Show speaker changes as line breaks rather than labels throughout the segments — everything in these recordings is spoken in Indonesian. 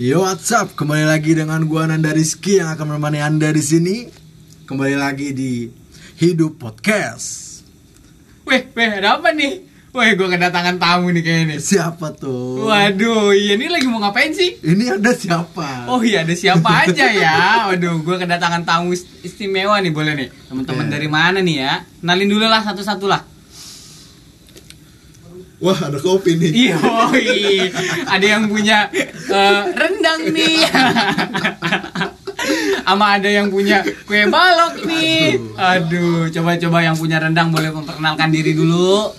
Yo what's up? Kembali lagi dengan gua Nanda Rizky yang akan menemani Anda di sini. Kembali lagi di Hidup Podcast.
Weh, weh, ada apa nih? Weh, gue kedatangan tamu nih kayaknya nih.
Siapa tuh?
Waduh, iya ini lagi mau ngapain sih?
Ini ada siapa?
Oh iya, ada siapa aja ya? Waduh, gue kedatangan tamu ist- istimewa nih, boleh nih. Teman-teman
Oke.
dari mana nih ya? Nalin dulu lah satu-satu lah.
Wah, ada kopi nih.
Iya, woi. ada yang punya eh, rendang nih. Sama ada yang punya kue balok nih. Aduh, coba-coba yang punya rendang boleh memperkenalkan diri dulu.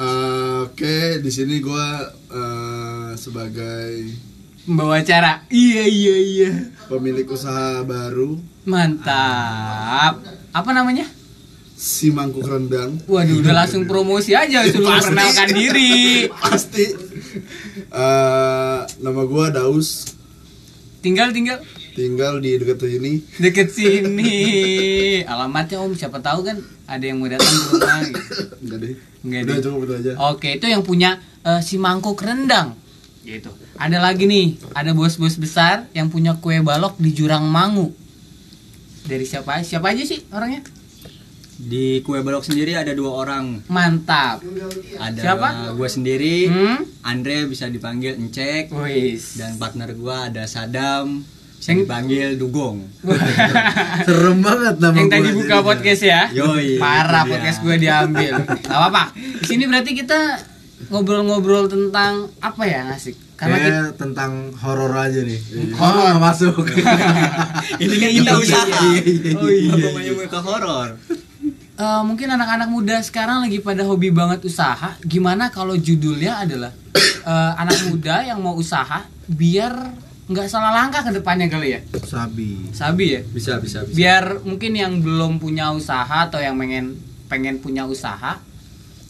Eh, Oke, di sini gue
eh,
sebagai
Membawa acara. Iya, iya, iya.
pemilik usaha baru
Mantap. Apa namanya?
si mangkuk rendang
Waduh, udah langsung promosi aja sebelum
Pasti.
perkenalkan diri.
pasti. Eh, nama gue Daus,
Tinggal tinggal
tinggal di dekat sini.
deket sini. Alamatnya Om, siapa tahu kan ada yang mau datang ke rumah. gitu.
Enggak deh.
Enggak
Udah
deh.
cukup itu
Ya.
aja.
Oke, itu yang punya eh, si mangkok rendang. Gitu. Ada lagi nih, ada bos-bos besar yang punya kue balok di Jurang Mangu. Dari siapa? Siapa aja sih orangnya?
Di kue balok sendiri ada dua orang.
Mantap.
Ada
Siapa?
gue sendiri,
Hmm?
Andre bisa dipanggil Encek,
Wis.
dan partner gue ada Sadam, bisa
Yang-
dipanggil Dugong.
Serem banget nama
yang
gua
tadi buka
jadinya.
podcast ya
Yoi,
parah
itu dia.
podcast gue diambil nggak apa apa di sini berarti kita ngobrol-ngobrol tentang apa ya asik karena
Kayaknya
kita
tentang horor aja nih.
Horor.
Horor masuk.
Ini kan
gitu.
kita usaha. Oh iya. Namanya mereka horor.
Eh, mungkin anak-anak muda sekarang lagi pada hobi banget usaha gimana kalau judulnya adalah eh, anak muda yang mau usaha biar nggak salah langkah ke depannya kali ya
Sabi.
sabi ya
Bisa, bisa, bisa.
biar mungkin yang belum punya usaha atau yang pengen pengen punya usaha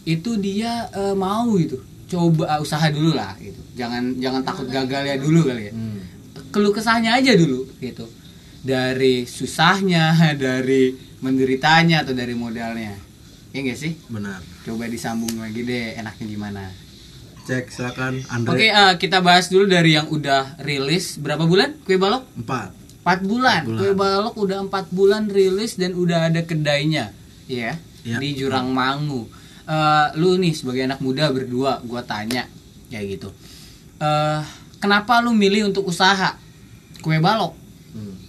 itu dia eh, mau gitu coba eh, usaha dulu lah gitu jangan jangan takut gagal ya dulu kali ya
Hmm,
keluh kesahnya aja dulu gitu dari susahnya dari menderitanya atau dari modalnya ya nggak sih
Benar.
coba disambung lagi deh enaknya gimana
Cek silakan Andre.
oke eh, kita bahas dulu dari yang udah rilis berapa bulan kue balok
Empat.
4 bulan.
Empat bulan.
Kue Balok udah 4 bulan rilis dan udah ada kedainya. Iya.
Ya.
Iya.
Di Jurang Mangu. Eh, lu nih sebagai anak muda berdua gua tanya kayak gitu. Eh, kenapa lu milih untuk usaha kue balok?
Hmm.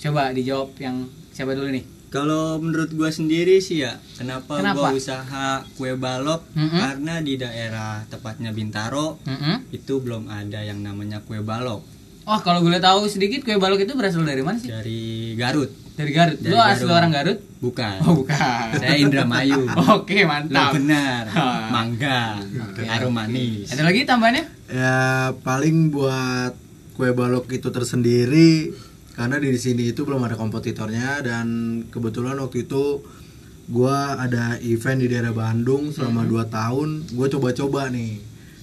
Coba dijawab yang siapa dulu nih?
Kalau menurut gue sendiri sih ya, kenapa,
Kenapa? Hmm.
gua usaha kue balok?
Mm-mm.
Karena di daerah tepatnya Bintaro
Mm-mm.
itu belum ada yang namanya kue balok
Oh, kalau boleh tahu sedikit kue balok itu berasal dari mana sih?
dari Garut.
Dari Garut.
Ya. Dari
lu asli
Garut.
orang Garut?
Bukan.
Oh, bukan.
Saya Indramayu.
Oke,
Lo
mantap.
Oh, benar.
Ah.
Mangga.
Oke.
Harum manis.
Ada lagi tambahannya?
Ya paling buat kue balok itu tersendiri karena di sini itu belum ada kompetitornya dan kebetulan waktu itu gua ada event di daerah Bandung selama 2 tahun, gue coba-coba nih.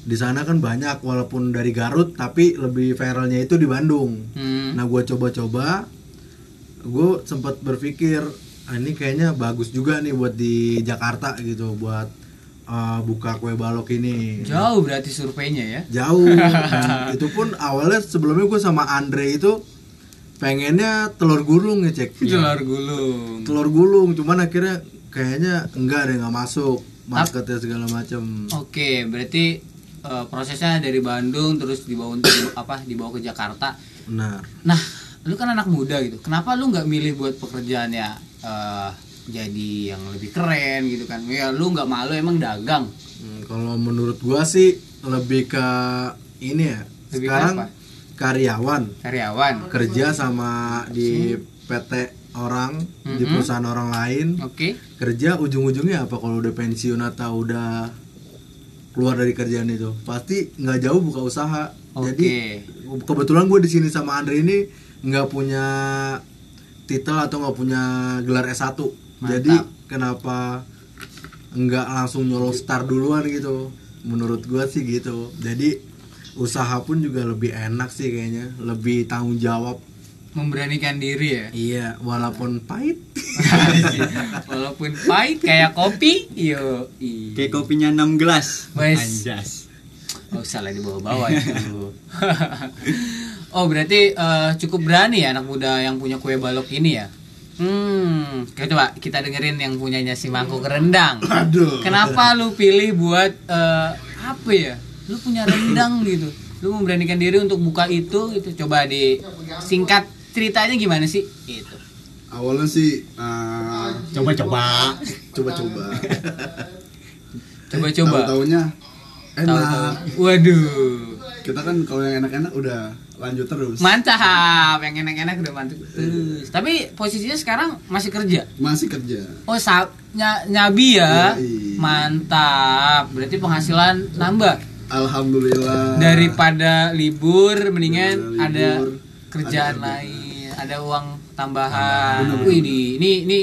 Di sana kan banyak walaupun dari Garut tapi lebih viralnya itu di Bandung.
Hmm.
Nah, gua coba-coba gue sempat berpikir "Ah, ini kayaknya bagus juga nih buat di Jakarta gitu buat eh, buka kue balok ini
Jauh berarti surveinya ya.
jauh Dan itu pun awalnya sebelumnya gue sama Andre itu pengennya telur gulung ya cek
Telur gulung.
telur gulung cuman akhirnya kayaknya enggak deh nggak masuk
Ah.
marketnya segala macam
Oke, berarti eh, prosesnya dari Bandung terus dibawa untuk apa dibawa ke Jakarta.
benar
Nah, lu kan anak muda gitu. Kenapa lu nggak milih buat pekerjaannya eh, jadi yang lebih keren gitu kan? Ya lu nggak malu emang dagang.
Hmm, kalau menurut gua sih lebih ke ini ya
Lebih ke
sekarang
apa?
karyawan
Karyawan.
kerja sama di
Hmm.
PT orang di
Mhm.
perusahaan orang lain
Oke.
kerja ujung-ujungnya apa kalau udah pensiun atau udah keluar dari kerjaan itu pasti nggak jauh buka usaha jadi
Oke.
kebetulan gue di sini sama Andre ini nggak punya titel atau nggak punya gelar S1 jadi kenapa nggak langsung nyolong start duluan gitu menurut gue sih gitu jadi usaha pun juga lebih enak sih kayaknya lebih tanggung jawab
Memberanikan diri ya.
iya walaupun pahit
Walaupun pahit kayak kopi, yo. iya.
Kayak kopinya 6 gelas.
Wes.
Anjas.
Oh salah dibawa-bawa itu. oh berarti eh, cukup berani ya anak muda yang punya kue balok ini ya. Hmm, oke, coba kita dengerin yang punyanya si mangkuk rendang.
Aduh.
Kenapa lu pilih buat eh, apa ya? Lu punya rendang gitu. Lu memberanikan diri untuk buka itu itu coba di singkat ceritanya gimana sih? Gitu. Itu.
Awalnya sih eh,
Coba-coba.
coba-coba.
Coba-coba.
Tahu-taunya
Tahu-tahu.
enak.
Waduh.
Kita kan kalau yang enak-enak udah lanjut terus.
Mantap, yang enak-enak udah mantap terus. Tapi posisinya sekarang masih kerja.
Masih kerja.
Oh, sa- nya- nyabi ya.
Yoi.
Mantap. Berarti penghasilan nambah.
Alhamdulillah.
Daripada libur mendingan
Daripada
ada
libur,
kerjaan
ada
lain, ada uang tambahan.
Bener-bener.
Wih, ini ini ini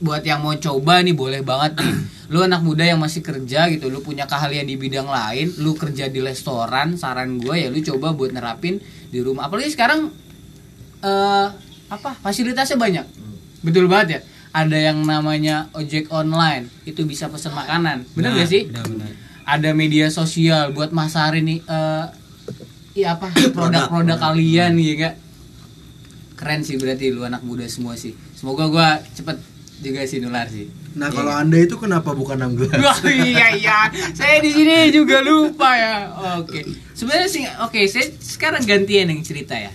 buat yang mau coba nih boleh banget nih. Lu anak muda yang masih kerja gitu, lu punya keahlian di bidang lain, lu kerja di restoran, saran gue ya lu coba buat nerapin di rumah. Apalagi sekarang eh apa fasilitasnya banyak betul banget ya ada yang namanya ojek online itu bisa pesan makanan bener
Benar,
gak sih
benar, benar.
ada media sosial buat masarin nih eh iya apa produk-produk kalian
Hmm.
ya gak keren sih berarti lu anak muda semua sih semoga gua cepet juga sih nular sih
Nah
Iya
kalau
nggak?
anda itu kenapa bukan 16?
Wah, iya iya, saya di sini juga lupa ya. Oke, sebenarnya sih, oke, saya sekarang gantian yang cerita ya.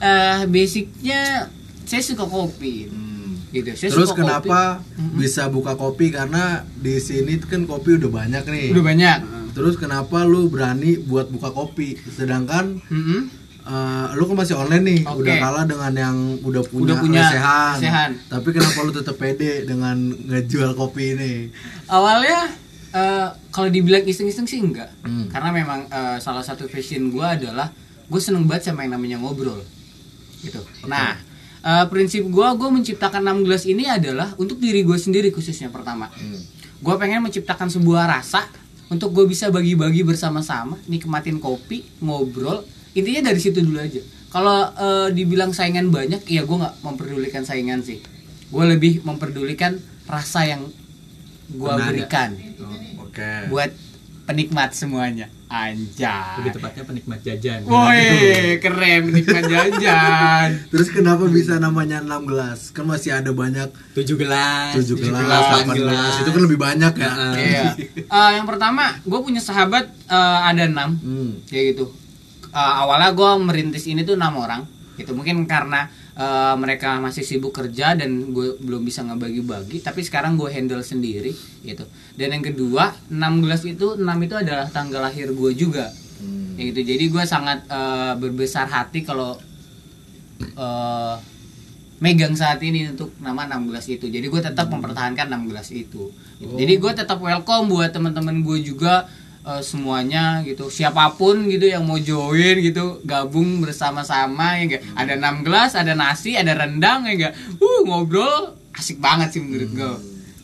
Eh, basicnya saya suka kopi,
Hmm.
gitu. Saya
Terus
suka kopi.
kenapa bisa buka kopi karena di sini tuh kan kopi udah banyak nih.
Udah banyak.
Terus kenapa lu berani buat buka kopi sedangkan
Mm-mm.
eh, lu kan masih online nih,
Oke.
udah kalah dengan yang udah punya,
Udah punya
lesehan.
lesehan.
Tapi kenapa lu tetap pede dengan ngejual kopi ini?
Awalnya eh, kalau dibilang iseng-iseng sih enggak,
Hmm.
karena memang eh, salah satu passion gua adalah gue seneng banget sama yang namanya ngobrol, gitu. Nah, eh, prinsip gua gue menciptakan 16 ini adalah untuk diri gue sendiri khususnya pertama. gue pengen menciptakan sebuah rasa untuk gue bisa bagi-bagi bersama-sama nikmatin kopi ngobrol intinya dari situ dulu aja kalau eh, dibilang saingan banyak ya gue nggak memperdulikan saingan sih gue lebih memperdulikan rasa yang gue
Pernah ada.
berikan
Iya. Oke.
buat penikmat semuanya anjay
Lebih tepatnya penikmat jajan.
woi keren penikmat jajan
Terus kenapa bisa namanya 16? Kan masih ada banyak
Tujuh gelas.
7 gelas, 8 gelas. Itu kan lebih banyak ya.
Heeh.
iya Eh, yang pertama gue punya sahabat eh, ada enam
Hmm.
kayak gitu Eh, awalnya gue merintis ini tuh enam orang gitu mungkin karena eh, mereka masih sibuk kerja dan gue belum bisa ngebagi-bagi tapi sekarang gue handle sendiri gitu dan yang kedua 16 itu 6 itu adalah tanggal lahir gue juga Ya gitu jadi gue sangat eh, berbesar hati kalau eh, megang saat ini untuk nama 16 itu jadi gue tetap
Hmm.
mempertahankan 16 itu
Oh.
Gitu. jadi gue tetap welcome buat teman-teman gue juga eh, semuanya gitu siapapun gitu yang mau join gitu gabung bersama-sama ya
Hmm.
enggak ada 16 ada nasi ada rendang ya enggak uh ngobrol asik banget sih menurut gue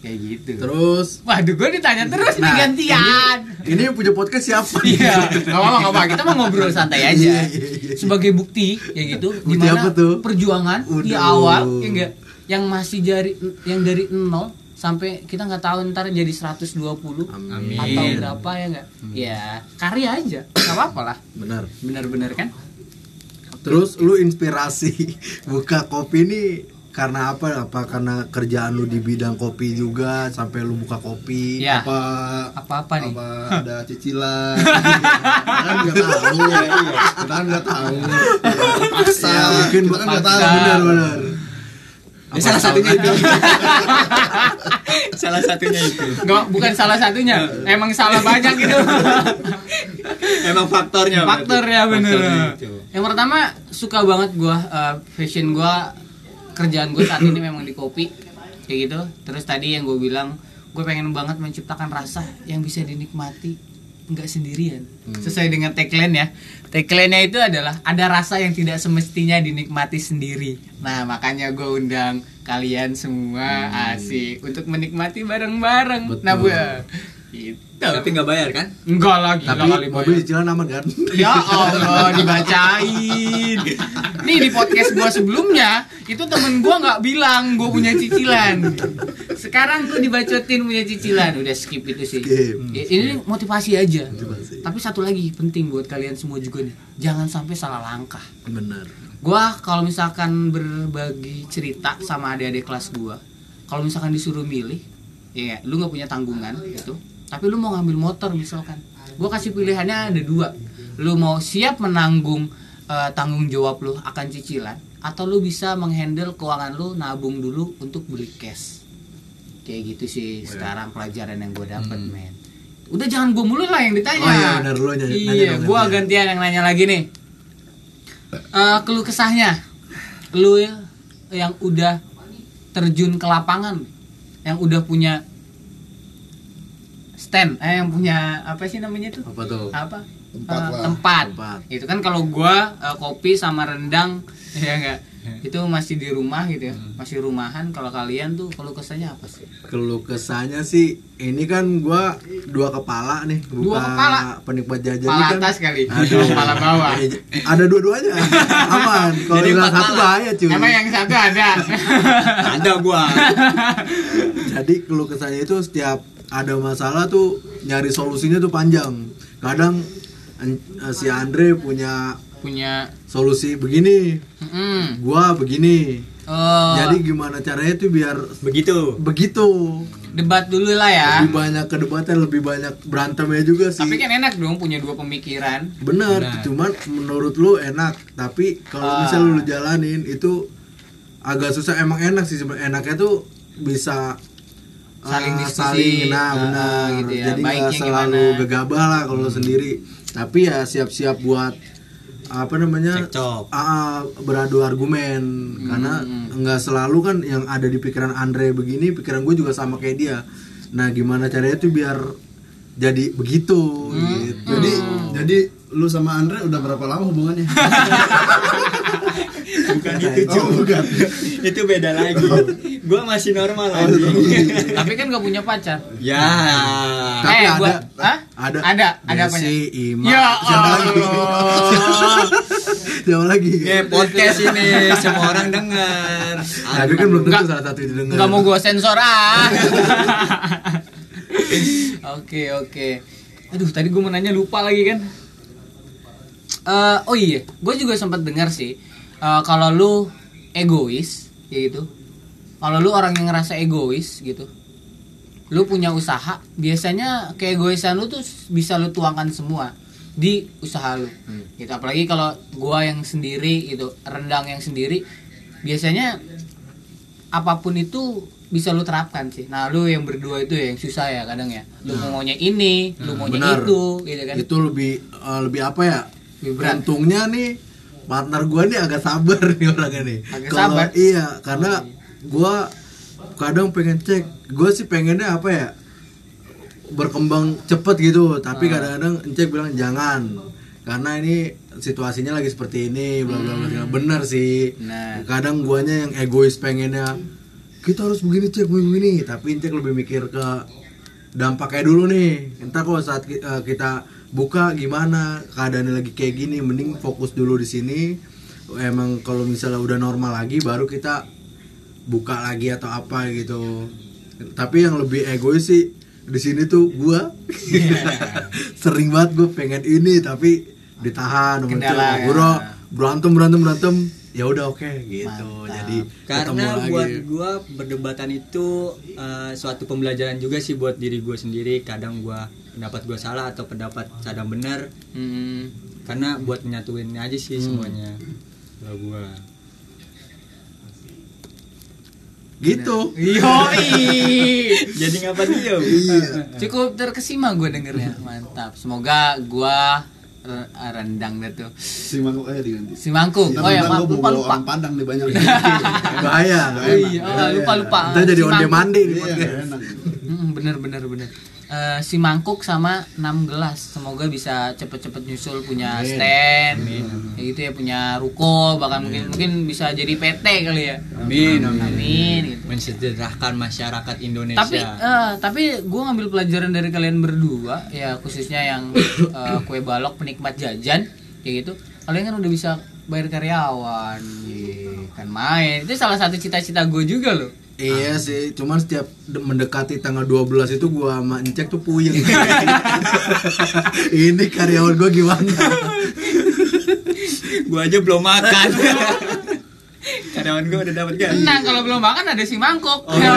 kayak gitu
Hmm. Terus
waduh gue ditanya terus nih
Nah,
gantian
ini yang punya podcast siapa?
Iya, nggak apa-apa, nggak apa-apa. Kita mau ngobrol santai aja.
Iya, iya, iya.
Sebagai bukti, ya gitu.
Bukti
gimana
apa tuh?
Perjuangan di
Waduh.
awal, ya nggak? Yang masih dari, yang dari nol sampai kita nggak tahu ntar jadi 120
Amin. Hmm.
atau berapa ya nggak? Ya karya aja, nggak apa-apa lah.
Benar.
Bener-bener kan?
Terus lu inspirasi buka kopi ini karena apa? Apa karena kerjaan lu di bidang kopi juga sampai lu buka kopi?
Ya.
Apa
Apa-apa nih?
apa ada cicilan kita kan nggak tahu ya kita kan nggak tahu paksa
Ya, mungkin
kita kan nggak tahu
Iya, paksa.
benar benar
Ya, salah satunya itu. salah satunya itu.
Nggak, bukan salah satunya. Emang salah banyak gitu. itu.
Emang faktornya. Iya, berarti.
faktor ya bener
Faktornya itu.
yang pertama suka banget gua eh, fashion gua kerjaan gue saat ini memang di kopi kayak gitu terus tadi yang gue bilang gue pengen banget menciptakan rasa yang bisa dinikmati nggak sendirian sesuai dengan tagline ya tagline-nya itu adalah ada rasa yang tidak semestinya dinikmati sendiri nah makanya gue undang kalian semua asik untuk menikmati bareng-bareng nah
Betul.
Bu,
Gitu. Tapi nggak bayar kan?
Enggak lagi
Tapi mobil cicilan aman kan?
Ya Allah dibacain. Nih di podcast gua sebelumnya itu temen gua nggak bilang gua punya cicilan. Sekarang tuh dibacotin punya cicilan. Udah skip itu sih.
Skip.
I- Ini motivasi aja.
Motivasi.
Tapi satu lagi penting buat kalian semua juga nih. Jangan sampai salah langkah.
Bener.
Gua kalau misalkan berbagi cerita sama adik-adik kelas gua, kalau misalkan disuruh milih, ya lu nggak punya tanggungan gitu. Tapi lu mau ngambil motor misalkan. Gua kasih pilihannya ada dua. Lu mau siap menanggung eh, tanggung jawab lu akan cicilan atau lu bisa menghandle keuangan lu nabung dulu untuk beli cash. Kayak gitu
Oh,
sih
iya.
sekarang pelajaran yang gua dapat, men. Udah jangan gua mulu lah yang
Hmm.
ditanya.
Oh iya, benar, lu nanya- nanya
Iya,
dong,
gua
nanya.
gantian yang nanya lagi nih eh keluh kesahnya lu ya, yang udah terjun ke lapangan yang udah punya stand eh yang punya apa sih namanya itu
Apa tuh?
apa Eh,
Tempat lah.
tempat.
Tempat.
itu kan kalau gua eh, kopi sama rendang ya enggak
Hmm.
itu masih di rumah gitu ya masih rumahan kalau kalian tuh kalau kesannya apa sih
Keluh kesahnya sih ini kan gua dua kepala nih buka
Dua kepala?
penikmat jajan
kepala
ini kan
atas kali
Aduh.
kepala bawah
Iya, ada dua-duanya aman kalau
Jadi
hilang
empat
satu
kepala.
bahaya cuy
emang yang satu ada
Ada gua.
jadi keluh kesahnya itu setiap ada masalah tuh nyari solusinya tuh panjang kadang en- eh, si Andre punya
punya
solusi begini
mm,
gua begini
oh,
jadi gimana caranya tuh biar
Begitu.
begitu
debat dulu lah ya
lebih banyak kedebatan lebih banyak berantemnya juga sih
Tapi kan enak dong punya dua pemikiran.
bener
Benar.
cuman menurut lu enak tapi kalau
Ah.
misalnya lu jalanin itu agak susah emang enak sih sebenarnya enaknya tuh bisa ah,
Saling diskusi.
saling, nah
Ah,
benar
gitu ya.
jadi nggak
Baiknya
selalu
gimana. Hmm.
gegabah lah kalau lu sendiri tapi ya siap-siap buat apa namanya
Cekcok.
Ah, ah, beradu argumen karena
Hmm,
nggak selalu kan yang ada di pikiran Andre begini pikiran gue juga sama kayak dia nah gimana caranya tuh biar jadi begitu
Hmm.
gitu
Jadi jadi lu sama Andre udah berapa lama hubungannya?
Bukan itu, Ju.
Oh, bukan.
itu beda lagi. Gua masih normal lagi.
Tapi kan gak punya pacar. Eh,
ya.
Tapi ada.
gua- Hah?
ada
Ada, ada
Desi,
apanya?
Ima
Ya
siapa
Allah.
lagi siapa lagi
Iya.
Oke, podcast ini semua orang dengar.
tapi kan belum tentu
Nggak-
salah satu itu dengar
Nggak mau gue sensor ah. Oke oke. Aduh tadi gue mau nanya lupa lagi kan. Eh, oh iya, gue juga sempat dengar sih eh, kalau lu egois, ya gitu. Kalau lu orang yang ngerasa egois gitu, lu punya usaha, biasanya keegoisan lu tuh bisa lu tuangkan semua di usaha lu. Gitu. Apalagi kalau gua yang sendiri gitu, rendang yang sendiri, biasanya apapun itu bisa lu terapkan sih. Nah, lu yang berdua itu ya yang susah ya kadang ya. Lu maunya ini, lu maunya
benar.
itu, gitu kan.
itu lebih eh, lebih apa ya
Lebih berat.
untungnya nih partner gua nih agak sabar nih orangnya nih
Agak
Kalau-
sabar. Oh, iya.
iya karena gua kadang pengen cek gua sih pengennya apa ya berkembang cepet gitu
Ah.
tapi kadang-kadang Encek bilang jangan karena ini situasinya lagi seperti ini bla bla bla bla.
Hmm.
bener sih
Nah.
kadang guanya yang egois pengennya kita harus begini cek begini begini." tapi Encek lebih mikir ke dampaknya dulu nih entar kalau saat ki- eh, kita buka gimana keadaannya lagi kayak gini mending fokus dulu di sini emang kalau misalnya udah normal lagi baru kita buka lagi atau apa gitu tapi yang lebih egois sih di sini tuh gua sering banget gue pengen ini tapi ditahan sama
Kendala,
cewek.
ya.
Bro, berantem berantem berantem ya udah oke gitu jadi ketemu
Karena
lagi.
buat gua perdebatan itu eh, suatu pembelajaran juga sih buat diri gua sendiri. Kadang gua pendapat gua salah atau pendapat kadang benar.
Hmm.
Karena buat menyatuin aja sih semuanya. Hmm. Kalau gua.
gitu
Iya. Yoi.
Jadi ngapa dia?
Cukup terkesima gue dengernya. Mantap. Semoga gua re- rendang deh tuh.
Si Mangkok aja eh, diganti.
Si mangkuk.
Ntar
Oh ya,
bentar
maaf
Iya, gua
lupa
bawa
lupa.
Orang Padang nih banyak.
bahaya
Oh iya, oh, lupa lupa.
kita jadi
Si
onde
mangkuk.
mandi nih
Iya,
podcast.
enak.
Mm, bener bener bener. eh, si mangkuk sama 6 gelas. Semoga bisa cepet-cepet nyusul punya
Amin.
stand, ya gitu ya punya ruko, bahkan mungkin mungkin bisa jadi PT kali ya.
Amin,
Amin, gitu.
Mensejahterakan masyarakat Indonesia.
Tapi eh, tapi gue ngambil pelajaran dari kalian berdua ya khususnya yang eh, kue balok penikmat jajan kayak gitu. Kalian kan udah bisa bayar karyawan, ye, kan main. Itu salah satu cita-cita gue juga loh.
Iya sih, cuman setiap de- mendekati tanggal 12 itu gua sama Encek tuh puyeng. Ini karyawan gua gimana?
gua aja belum makan. Karyawan gua udah kan? dapat gaji.
Tenang kalau belum makan ada si mangkok.
iya.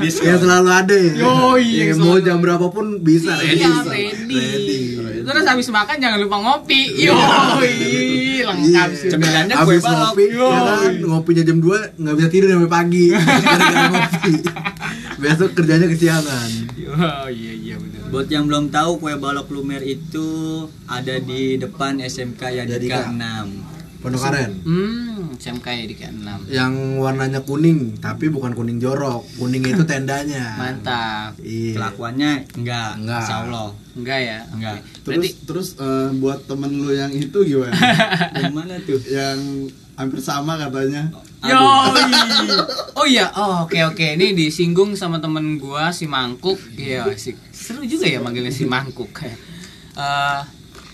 Yang selalu ada ya.
Yo,
Ya,
iya, yang
mau
selalu
jam berapapun bisa.
Iya,
Bisa.
ready.
Ready.
Terus habis makan jangan lupa ngopi. Yoi, lengkap
Iya.
sih.
Cemilannya kue
Abis
balok.
ngopi, ya kan, ngopinya jam 2 nggak bisa tidur sampai pagi gara-gara ngopi. Besok kerjanya kesiangan.
Oh iya iya benar.
Buat yang belum tahu kue balok lumer itu ada di depan SMK
Yadika.
Yadika 6.
Pondok Aren.
Hmm, SMK ya di ke-6.
yang warnanya kuning tapi bukan kuning jorok kuning itu tendanya
Mantap.
iya
Kelakuannya enggak,
Enggak.
Insya Allah.
Enggak ya?
Enggak.
Terus
Berarti
terus eh, buat temen lu yang itu gimana?
Yang mana tuh?
yang hampir sama katanya.
Yo. Oh iya, oh oke oke. Ini disinggung sama temen gua si Mangkuk. Iya, si- seru juga ya manggilnya si Mangkuk. Eh,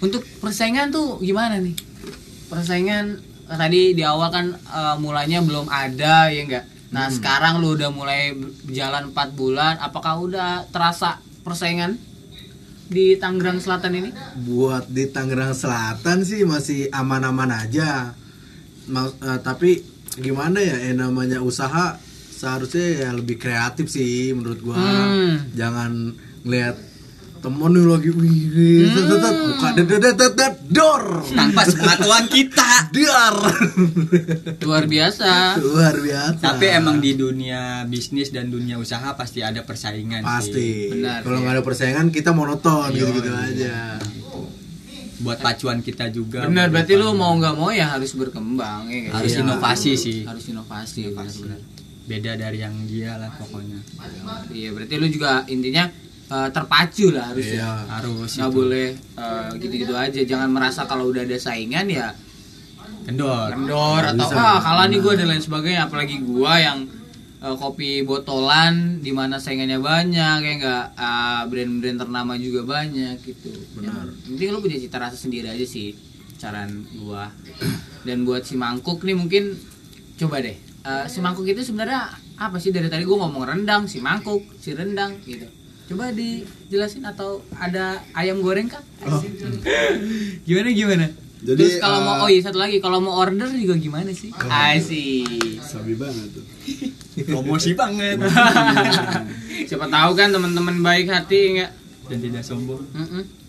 untuk persaingan tuh gimana nih? Persaingan eh, tadi di awal kan eh, mulanya belum ada ya enggak. Nah, sekarang lu udah mulai jalan 4 bulan, apakah udah terasa persaingan di Tangerang Selatan ini?
buat di Tangerang Selatan sih masih aman-aman aja Ma- eh, tapi gimana ya eh, namanya usaha seharusnya ya lebih kreatif sih menurut gua
Hmm.
jangan ngeliat temen lu lagi wih, wih, tet, tet,
Hmm.
tet, buka det, det, det, det, det, dor
Tanpa sepengetahuan kita.
dar
Luar biasa.
luar biasa
Tapi
Nah.
emang di dunia bisnis dan dunia usaha pasti ada persaingan sih.
pasti
Benar Iya,
kalau
sih.
nggak ada persaingan kita monoton gitu-gitu aja
Buat pacuan kita juga.
Benar, berarti lu mau nggak mau ya harus berkembang ya. nggak
harus
sih?
inovasi sih.
Harus inovasi, benar-benar.
Beda dari yang dia lah pokoknya.
Iya, berarti lu juga intinya eh, terpacu lah harus
Iya.
ya.
Harus
Nggak
itu.
boleh eh, gitu-gitu aja. Jangan merasa kalau udah ada saingan ya
kendor.
kendor atau
bisa.
ah kalah nih gua dan lain sebagainya. Apalagi gua yang eh, kopi botolan di mana saingannya banyak ya nggak ah, brand-brand ternama juga banyak gitu.
Benar.
Ya, penting lu punya cita rasa sendiri aja sih caran gua. Dan buat si mangkuk nih mungkin coba deh. Eh, si mangkuk itu sebenarnya apa sih dari tadi gua ngomong rendang, si mangkuk, si rendang gitu. Coba dijelasin atau ada ayam goreng kah?
Oh.
gimana gimana?
Jadi,
Terus kalau mau
eh, Oh, iya.
oh iya satu lagi kalau mau order juga gimana sih? Asik.
Sabi banget tuh.
Promosi banget.
Siapa tahu kan teman-teman baik hati enggak?
dan tidak sombong.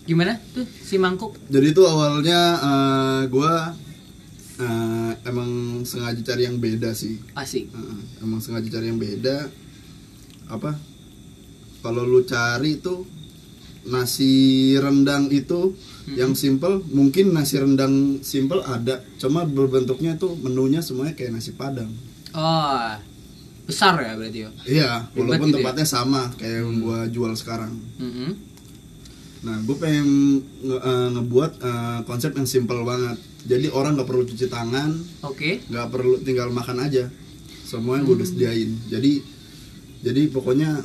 Gimana tuh si mangkuk?
Jadi tuh awalnya eh, gua eh, emang sengaja cari yang beda sih.
Asik.
Heeh, emang sengaja cari yang beda apa kalau lu cari tuh nasi rendang itu
Hmm.
yang simple mungkin nasi rendang simple ada cuma berbentuknya tuh menunya semuanya kayak nasi padang
Oh. Besar ya berarti ya.
iya
Ribet
walaupun
gitu ya? Hmm.
tempatnya sama kayak yang gua jual sekarang
Mm-mm.
nah gue pengen nge- eh, ngebuat eh, konsep yang simple banget jadi orang nggak perlu cuci tangan
Oke.
nggak perlu tinggal makan aja semuanya gue udah sediain jadi jadi pokoknya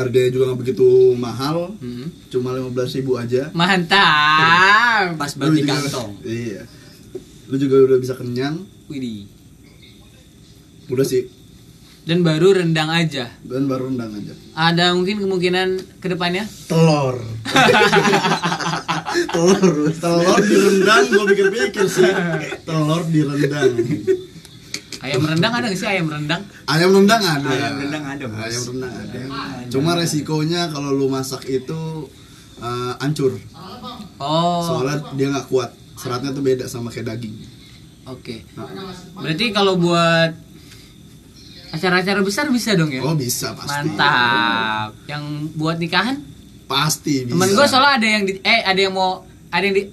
harganya juga nggak begitu mahal
Mm-mm.
cuma 15.000 ribu aja
Mantap.
Pas
Lu
banget di
juga-
kantong.
iya lu juga udah bisa kenyang
Widih.
udah sih
Dan baru rendang aja.
dan baru rendang aja
Ada mungkin kemungkinan kedepannya?
telur telur
telur direndang gue pikir-pikir sih telur direndang
Ayam rendang ada nggak sih ayam rendang?
ayam rendang ada
Ayam rendang ada, Bos.
ayam rendang ada cuma resikonya kalau lu masak itu eh, hancur
Oh,
soalnya dia nggak kuat seratnya tuh beda sama kayak daging
oke.
Nah,
Berarti kalau buat acara-acara besar bisa dong ya?
Oh bisa pasti.
Mantap. Yang buat nikahan?
Pasti bisa.
Temen gue soalnya ada yang di, eh ada yang mau ada yang di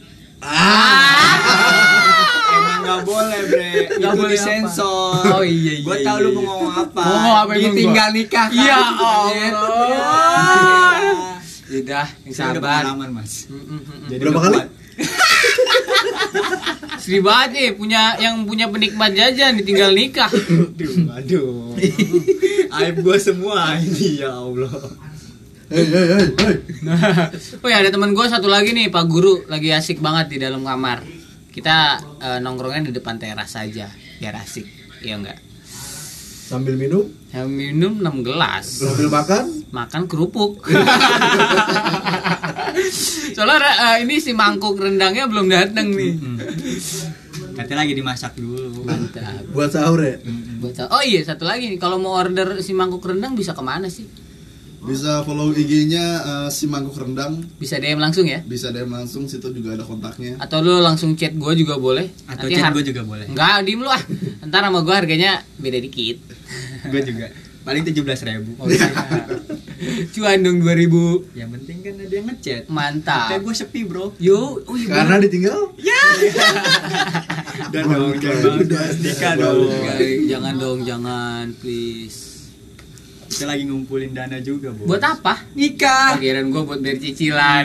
Emang nggak boleh bre,
Nggak
nggak
boleh
boleh sensor.
apa? Oh, iya, iya,
Gue
iya,
tahu lu
iya.
mau ngomong apa. kan? Iya,
Mau ngomong apa emang
Ditinggal nikah.
Ya
kan?
Allah. udah yang
Saya udah
sabar
pengalaman, Mas.
Mm, mm, mm, mm.
Jadi
Hmm. Berapa
udah
kali?
kuat.
Sedih banget nih punya yang punya penikmat jajan ditinggal nikah.
Aduh, aduh. Aib gua semua ini ya Allah.
Hei, hei, hei, hei.
oh ya ada teman gue satu lagi nih Pak Guru lagi asik banget di dalam kamar. Kita eh, nongkrongnya di depan teras saja biar asik. Iya enggak?
Sambil minum,
Yang minum 6 gelas.
sambil makan,
makan kerupuk. Soalnya eh, ini si mangkuk rendangnya belum datang nih.
Katanya lagi dimasak dulu.
Mantap.
buat sahur ya.
Bocah- Oh iya satu lagi nih kalau mau order si mangkuk rendang bisa kemana sih?
Bisa follow IG-nya eh, si mangkuk rendang,
Bisa DM langsung ya?
bisa DM langsung situ juga ada kontaknya.
Atau lu langsung chat gue juga boleh?
Atau
Nanti
chat
har-
gua juga boleh.
Enggak, diem lu ah. Ntar sama gue harganya beda dikit.
Gua juga. Paling 17.000.
Oh, iya. Cuan dong 2000.
Yang penting kan ada yang ngechat. Tapi
Mantap.
gua sepi, Bro.
Yo, oh iya.
Karena ditinggal,
Dan dong, jangan banget, Mas. nikah dong.
Guys, jangan dong, jangan please.
Kita lagi ngumpulin dana juga, Bos.
Buat apa?
Nikah.
Pikiran gue buat bayar cicilan.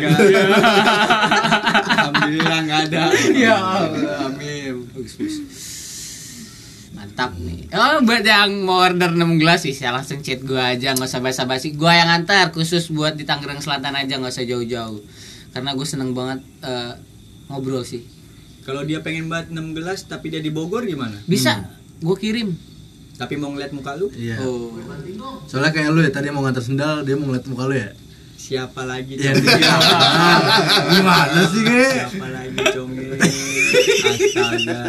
Alhamdulillah nggak ada.
ya Allah, amin. Bagus, bagus. Mantap nih. Oh, buat yang mau order 6 gelas bisa langsung chat gua aja, nggak usah basa-basi. Gua yang antar khusus buat di Tangerang Selatan aja, nggak usah jauh-jauh. Karena gue seneng banget eh, ngobrol sih.
Kalau dia pengen banget 6 gelas tapi dia di Bogor gimana?
Bisa,
Hmm.
gua kirim.
Tapi mau ngeliat muka lu?
iya.
Oh.
Soalnya kayak lu ya tadi mau nganter sendal, dia mau ngeliat muka lu ya.
Siapa lagi?
Ya,
Congel?
gimana sih ge?
Siapa lagi congel? Astaga.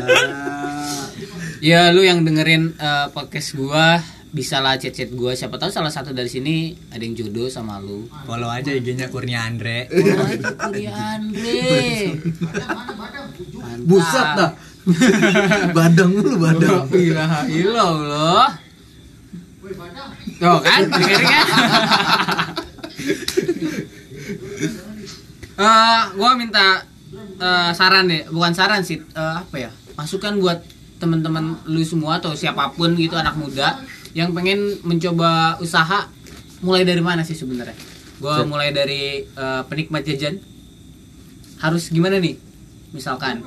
Ya lu yang dengerin eh, podcast gua bisa lah chat-chat gua siapa tahu salah satu dari sini ada yang jodoh sama lu.
Follow aja IG-nya Kurnia Andre.
Oh, itu Kuri Andre. Mantap.
Buset dah. badang mulu badang.
Ilaha illallah. Tuh kan, dengerin kan? Eh, gua minta eh, saran deh, bukan saran sih, eh, apa ya? Masukan buat teman-teman lu semua atau siapapun gitu anak muda yang pengen mencoba usaha mulai dari mana sih sebenarnya? Gua mulai dari eh, penikmat jajan. Harus gimana nih? Misalkan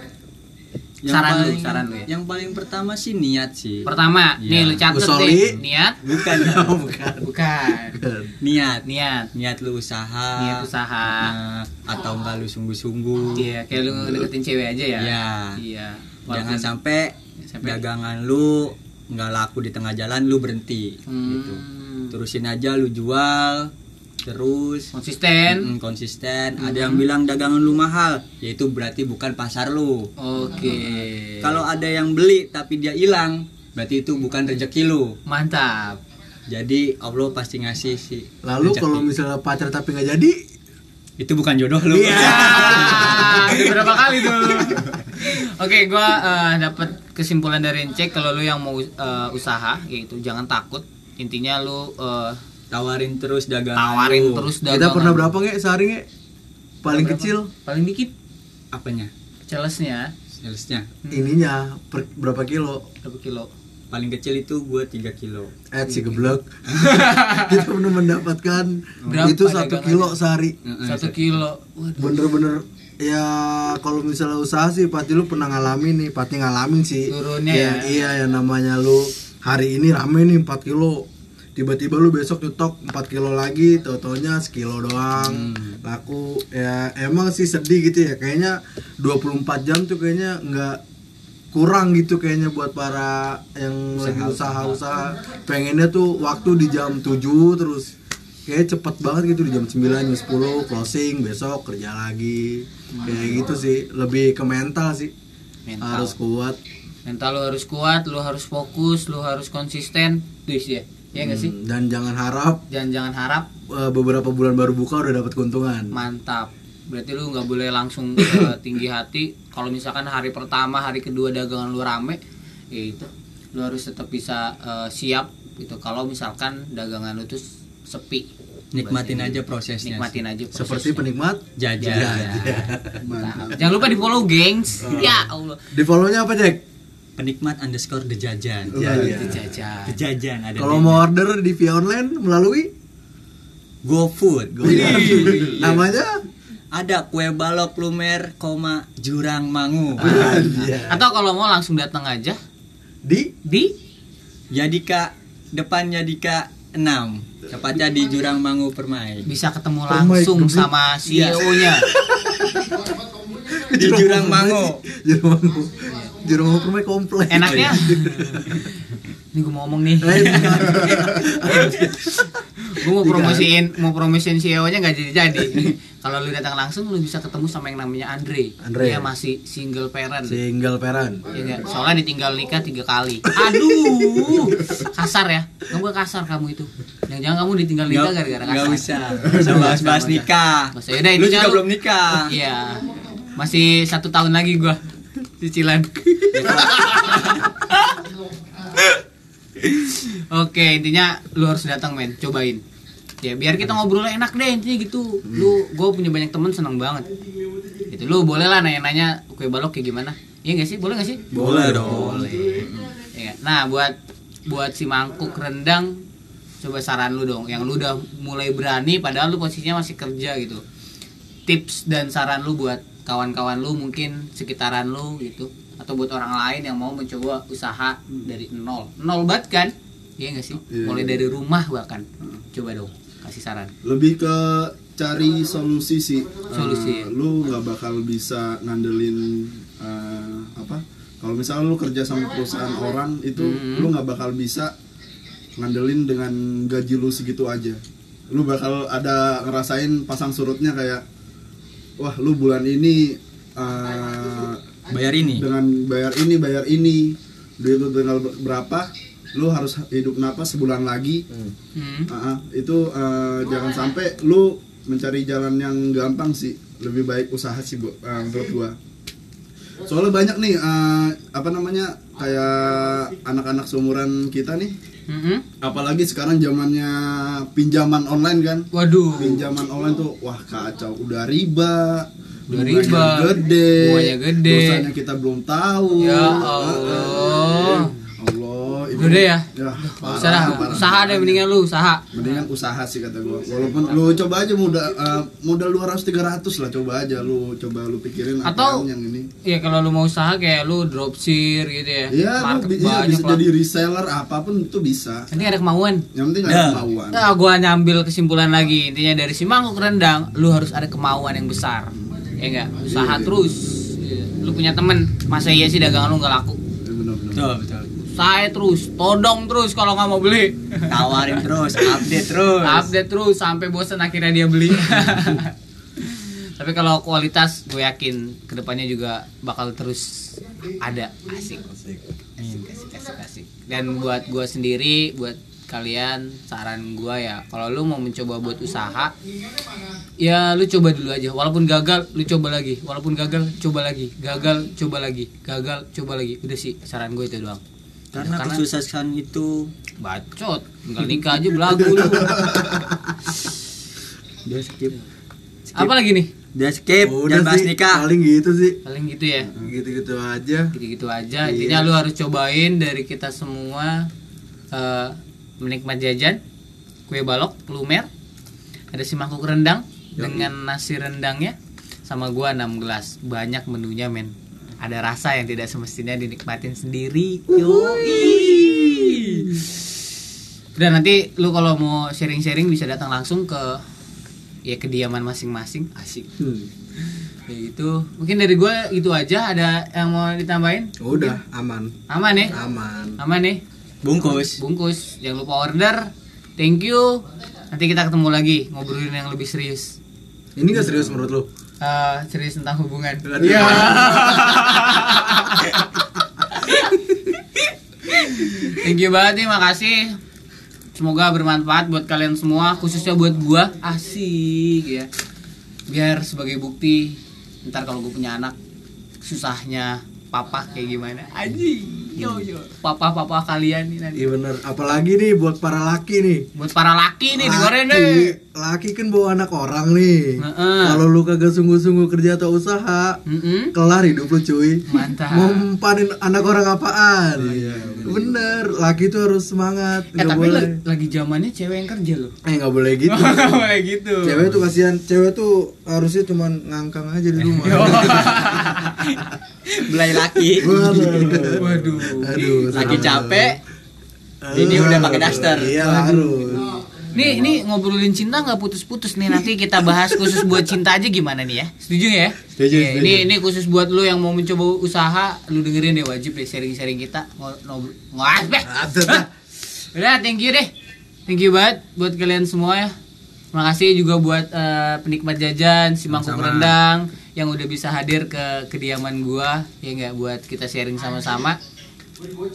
Saran lu, saran lu ya.
Yang paling pertama sih niat sih.
pertama,
Iya.
nih lu catet
Usoli.
deh, niat
Bukan ya?
Oh, bukan.
Bukan.
niat.
Niat.
Niat lu usaha.
Niat usaha.
Nah, atau enggak lu sungguh-sungguh.
Iya, kayak lu deketin cewek aja ya.
Iya.
Iya.
Jangan sampai
sampai-
dagangan lu nggak laku di tengah jalan lu berhenti
Hmm.
gitu. Terusin aja lu jual terus
konsisten. Hmm.
Mm, konsisten. Ada yang bilang dagangan lu mahal, yaitu berarti bukan pasar lu.
Oke.
Kalau ada yang beli tapi dia hilang, berarti itu bukan rezeki lu.
mantap.
Jadi Allah pasti ngasih sih.
Lalu
rezeki.
kalau misalnya pacar tapi nggak jadi,
itu bukan jodoh lu.
Iya.
Ah, udah berapa kali tuh? Oke, gua eh, dapat kesimpulan dari Encek kalau lu yang mau eh, usaha yaitu jangan takut. Intinya lu eh,
Tawarin terus dagangan.
tawarin
lu.
terus
kita
dagangan.
pernah berapa nggak sehari nggak? Paling
Berapa?
kecil
Paling dikit
apanya?
salesnya
Salesnya.
Hmm.
ininya per- berapa kilo?
berapa kilo?
Paling kecil itu gua 3 kilo.
Eh si geblek. kita pernah mendapatkan
Berapa
itu satu
dagangannya?
kilo sehari.
Heeh,
Satu
satu.
kilo. Waduh.
Bener-bener ya kalau misalnya usaha sih pasti lu pernah ngalamin nih, pasti ngalamin sih.
Turunnya
Ya,
ya.
Iya yang namanya lu hari ini rame nih 4 kilo. Tiba-tiba lu besok nyetok 4 kilo lagi, totonya sekilo doang. Laku ya emang sih sedih gitu ya. Kayaknya 24 jam tuh kayaknya nggak kurang gitu kayaknya buat para yang lagi usaha-usaha. Pengennya tuh waktu di jam 7 terus kayak cepet banget gitu di jam 9 jam 10 closing besok kerja lagi kayak gitu sih lebih ke mental sih
Mental.
harus kuat
mental lu harus kuat lu harus fokus lu harus konsisten tuh ya ya
Iya
nggak sih
Hmm, Dan jangan harap
jangan jangan harap
eh, beberapa bulan baru buka udah dapat keuntungan.
mantap berarti lu nggak boleh langsung eh, tinggi hati kalau misalkan hari pertama hari kedua dagangan lu rame ya itu lu harus tetap bisa eh, siap gitu kalau misalkan dagangan lu tuh sepi
Nikmatin
Bahasa
aja
Inggris.
prosesnya.
nikmatin aja
Seperti
prosesnya.
penikmat.
Jajan.
Mantap. jangan lupa di follow gengs
Oh.
ya allah
Di follow-nya apa, Jack?
Penikmat underscore dejajan.
Iya,
Nah,
Jajan.
Dejajan ada
Kalau
di-
mau order di via online melalui
GoFood. Iya.
Wih.
Namanya?
Ada kue balok lumer, koma jurang mangu.
Atau kalau mau langsung datang
Iya.
aja
Di
di
Yadika depannya Dika 6. Tepatnya di Jurang Mangu Permai.
bisa
Oh
ketemu
my
langsung
God.
sama E
Iya.
CEO-nya.
Di Jurang Mangu.
Jurang Mangu. Jurang Mangu permai komplek.
Enaknya. Ini gue mau ngomong nih.
Eh, bukan.
gue mau promosiin mau promosiin CEO-nya nggak jadi jadi. Kalau lu datang langsung lu bisa ketemu sama yang namanya Andre.
Andre.
Dia masih single parent.
Single parent.
Ya nggak? Soalnya ditinggal nikah tiga kali. Aduh, kasar ya. Kamu kasar kamu itu. Yang jangan kamu ditinggal nikah
Nggak-
gara-gara kasar.
nggak usah. Nggak usah bahas-bahas nikah.
Mas, yaudah,
Lu
intinya
juga
lu-
belum nikah.
Iya. Masih satu tahun lagi gua cicilan. Oke, intinya lu harus datang men, cobain. Ya biar kita ngobrolnya enak deh intinya gitu. Lu gue punya banyak temen seneng banget. Gitu lu boleh lah nanya-nanya kue balok kayak gimana. Iya gak sih? Boleh gak sih?
Boleh dong.
Boleh. Iya. Nah, buat buat si mangkuk rendang coba saran lu dong yang lu udah mulai berani padahal lu posisinya masih kerja gitu. Tips dan saran lu buat kawan-kawan lu mungkin sekitaran lu gitu atau buat orang lain yang mau mencoba usaha dari nol. Nol banget kan? Iya gak sih?
Iya.
Mulai dari rumah bahkan. Coba dong kasih saran.
lebih ke cari solusi sih
Solusi,
Eh,
ya.
lu nggak bakal bisa ngandelin eh, apa kalau misalnya lu kerja sama perusahaan orang itu
Hmm.
lu nggak bakal bisa ngandelin dengan gaji lu segitu aja lu bakal ada ngerasain pasang surutnya kayak wah lu bulan ini eh,
Bayar ini.
dengan bayar ini bayar ini duit lu tinggal berapa lu harus hidup napas sebulan lagi
Hmm.
Ah, ah, itu eh, jangan sampai lu mencari jalan yang gampang sih lebih baik usaha sih bu eh, menurut gua soalnya banyak nih eh, apa namanya kayak anak-anak seumuran kita nih
Mm-mm.
apalagi sekarang zamannya pinjaman online kan
Waduh.
pinjaman online tuh wah kacau udah riba
Udah
bunganya
riba,
gede
bunganya gede.
dosanya kita belum tahu
Ya
Eh,
Allah.
Allah ini-
Udah deh ya?
parah,
Usaha,
parah.
usaha deh mendingan lu usaha.
mendingan usaha sih kata gua walaupun lu coba aja modal eh, modal 200 300 lah coba aja lu coba lu pikirin
Atau-
apaan yang ini
Iya kalau lu mau usaha kayak lu dropship gitu ya.
Iya, lu
Market
bi- iya,
banyak
bisa
lah.
jadi reseller apapun itu bisa.
Nanti ada kemauan.
Yang penting ada
Nah.
kemauan.
Nah, gua nyambil kesimpulan lagi. Intinya dari si mangkuk rendang, lu harus ada kemauan yang besar. Ya enggak? Usaha
iya.
terus. Iya. Lu punya temen, masa iya sih dagangan lu nggak laku?
Ya, Benar-benar.
Betul, betul.
Saya terus, todong terus kalau nggak mau beli.
Tawarin terus, update terus.
Update terus sampai bosen akhirnya dia beli. Tapi kalau kualitas gue yakin kedepannya juga bakal terus ada asik.
Iya.
Asik, asik, asik, asik. Dan buat gue sendiri, buat kalian saran gue ya, kalau lu mau mencoba buat usaha, ya lu coba dulu aja. Walaupun gagal, lu coba lagi. Walaupun gagal, coba lagi. Gagal, coba lagi. Gagal, coba lagi. Udah sih, saran gue itu doang.
Karena
Karena-
kesusahan itu
Bacot, tinggal nikah aja belagu lu.
dia skip. skip.
Apa lagi nih?
Dia skip
Oh, Udah
dan bahas
sih,
nikah.
Paling gitu sih.
Paling gitu ya.
Gitu-gitu aja.
gitu-gitu aja
Iya.
intinya lu harus cobain dari kita semua eh, menikmat jajan kue balok lumer ada si mangkuk rendang dengan nasi rendangnya sama gua 6 gelas banyak menunya men ada rasa yang tidak semestinya dinikmatin sendiri yoi udah nanti lu kalau mau sharing-sharing bisa datang langsung ke ya kediaman masing-masing asik
Hmm.
ya gitu mungkin dari gua itu aja ada yang mau ditambahin
Udah aman.
aman ya
Aman.
aman nih
Bungkus.
bungkus jangan lupa order thank you nanti kita ketemu lagi ngobrolin yang lebih serius
Ini gak serius menurut lu?
Eh, serius tentang hubungan
Iya.
thank you banget nih makasih semoga bermanfaat buat kalian semua khususnya buat gua asik ya biar sebagai bukti ntar kalau gua punya anak susahnya papa kayak gimana anjing yo yo papa papa kalian nih nanti
Iya bener, apalagi nih buat para laki nih.
buat para laki nih di luar
laki,
nih
laki kan bawa anak orang nih.
eh. Heeh.
Kalau lu kagak sungguh-sungguh kerja atau usaha,
Mm-mm.
kelar hidup lu cuy.
Mantap.
Mau mempanin anak orang apaan? Iya, bener, laki tuh harus semangat.
eh
nggak
tapi
boleh.
lagi, lagi zamannya cewek yang kerja loh
Eh nggak boleh gitu.
boleh gitu
cewek tuh kasihan, cewek tuh harusnya cuman ngangkang aja di rumah.
belai laki
Waduh.
Waduh.
Aduh,
lagi
sama.
capek ini udah pakai daster
Iya harus.
Nih, ini ngobrolin cinta nggak putus-putus nih. Nanti kita bahas khusus buat cinta aja gimana nih ya? Setuju ya?
Setuju,
Iya,
setuju.
Ini ini khusus buat lu yang mau mencoba usaha, lu dengerin deh wajib deh sharing-sharing kita. Ngobrol.
Ah,
Udah, thank you deh. Thank you banget buat kalian semua ya. Makasih juga buat eh, penikmat jajan si mangkuk rendang yang udah bisa hadir ke kediaman gua ya nggak buat kita sharing sama-sama.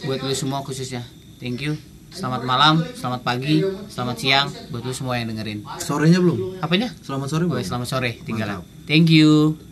Buat lu semua khususnya. Thank you. Selamat malam, selamat pagi, selamat siang buat lu semua yang dengerin.
Sorenya belum?
Apanya?
Selamat sore,
Oh,
Boy.
selamat sore tinggalan. Thank you.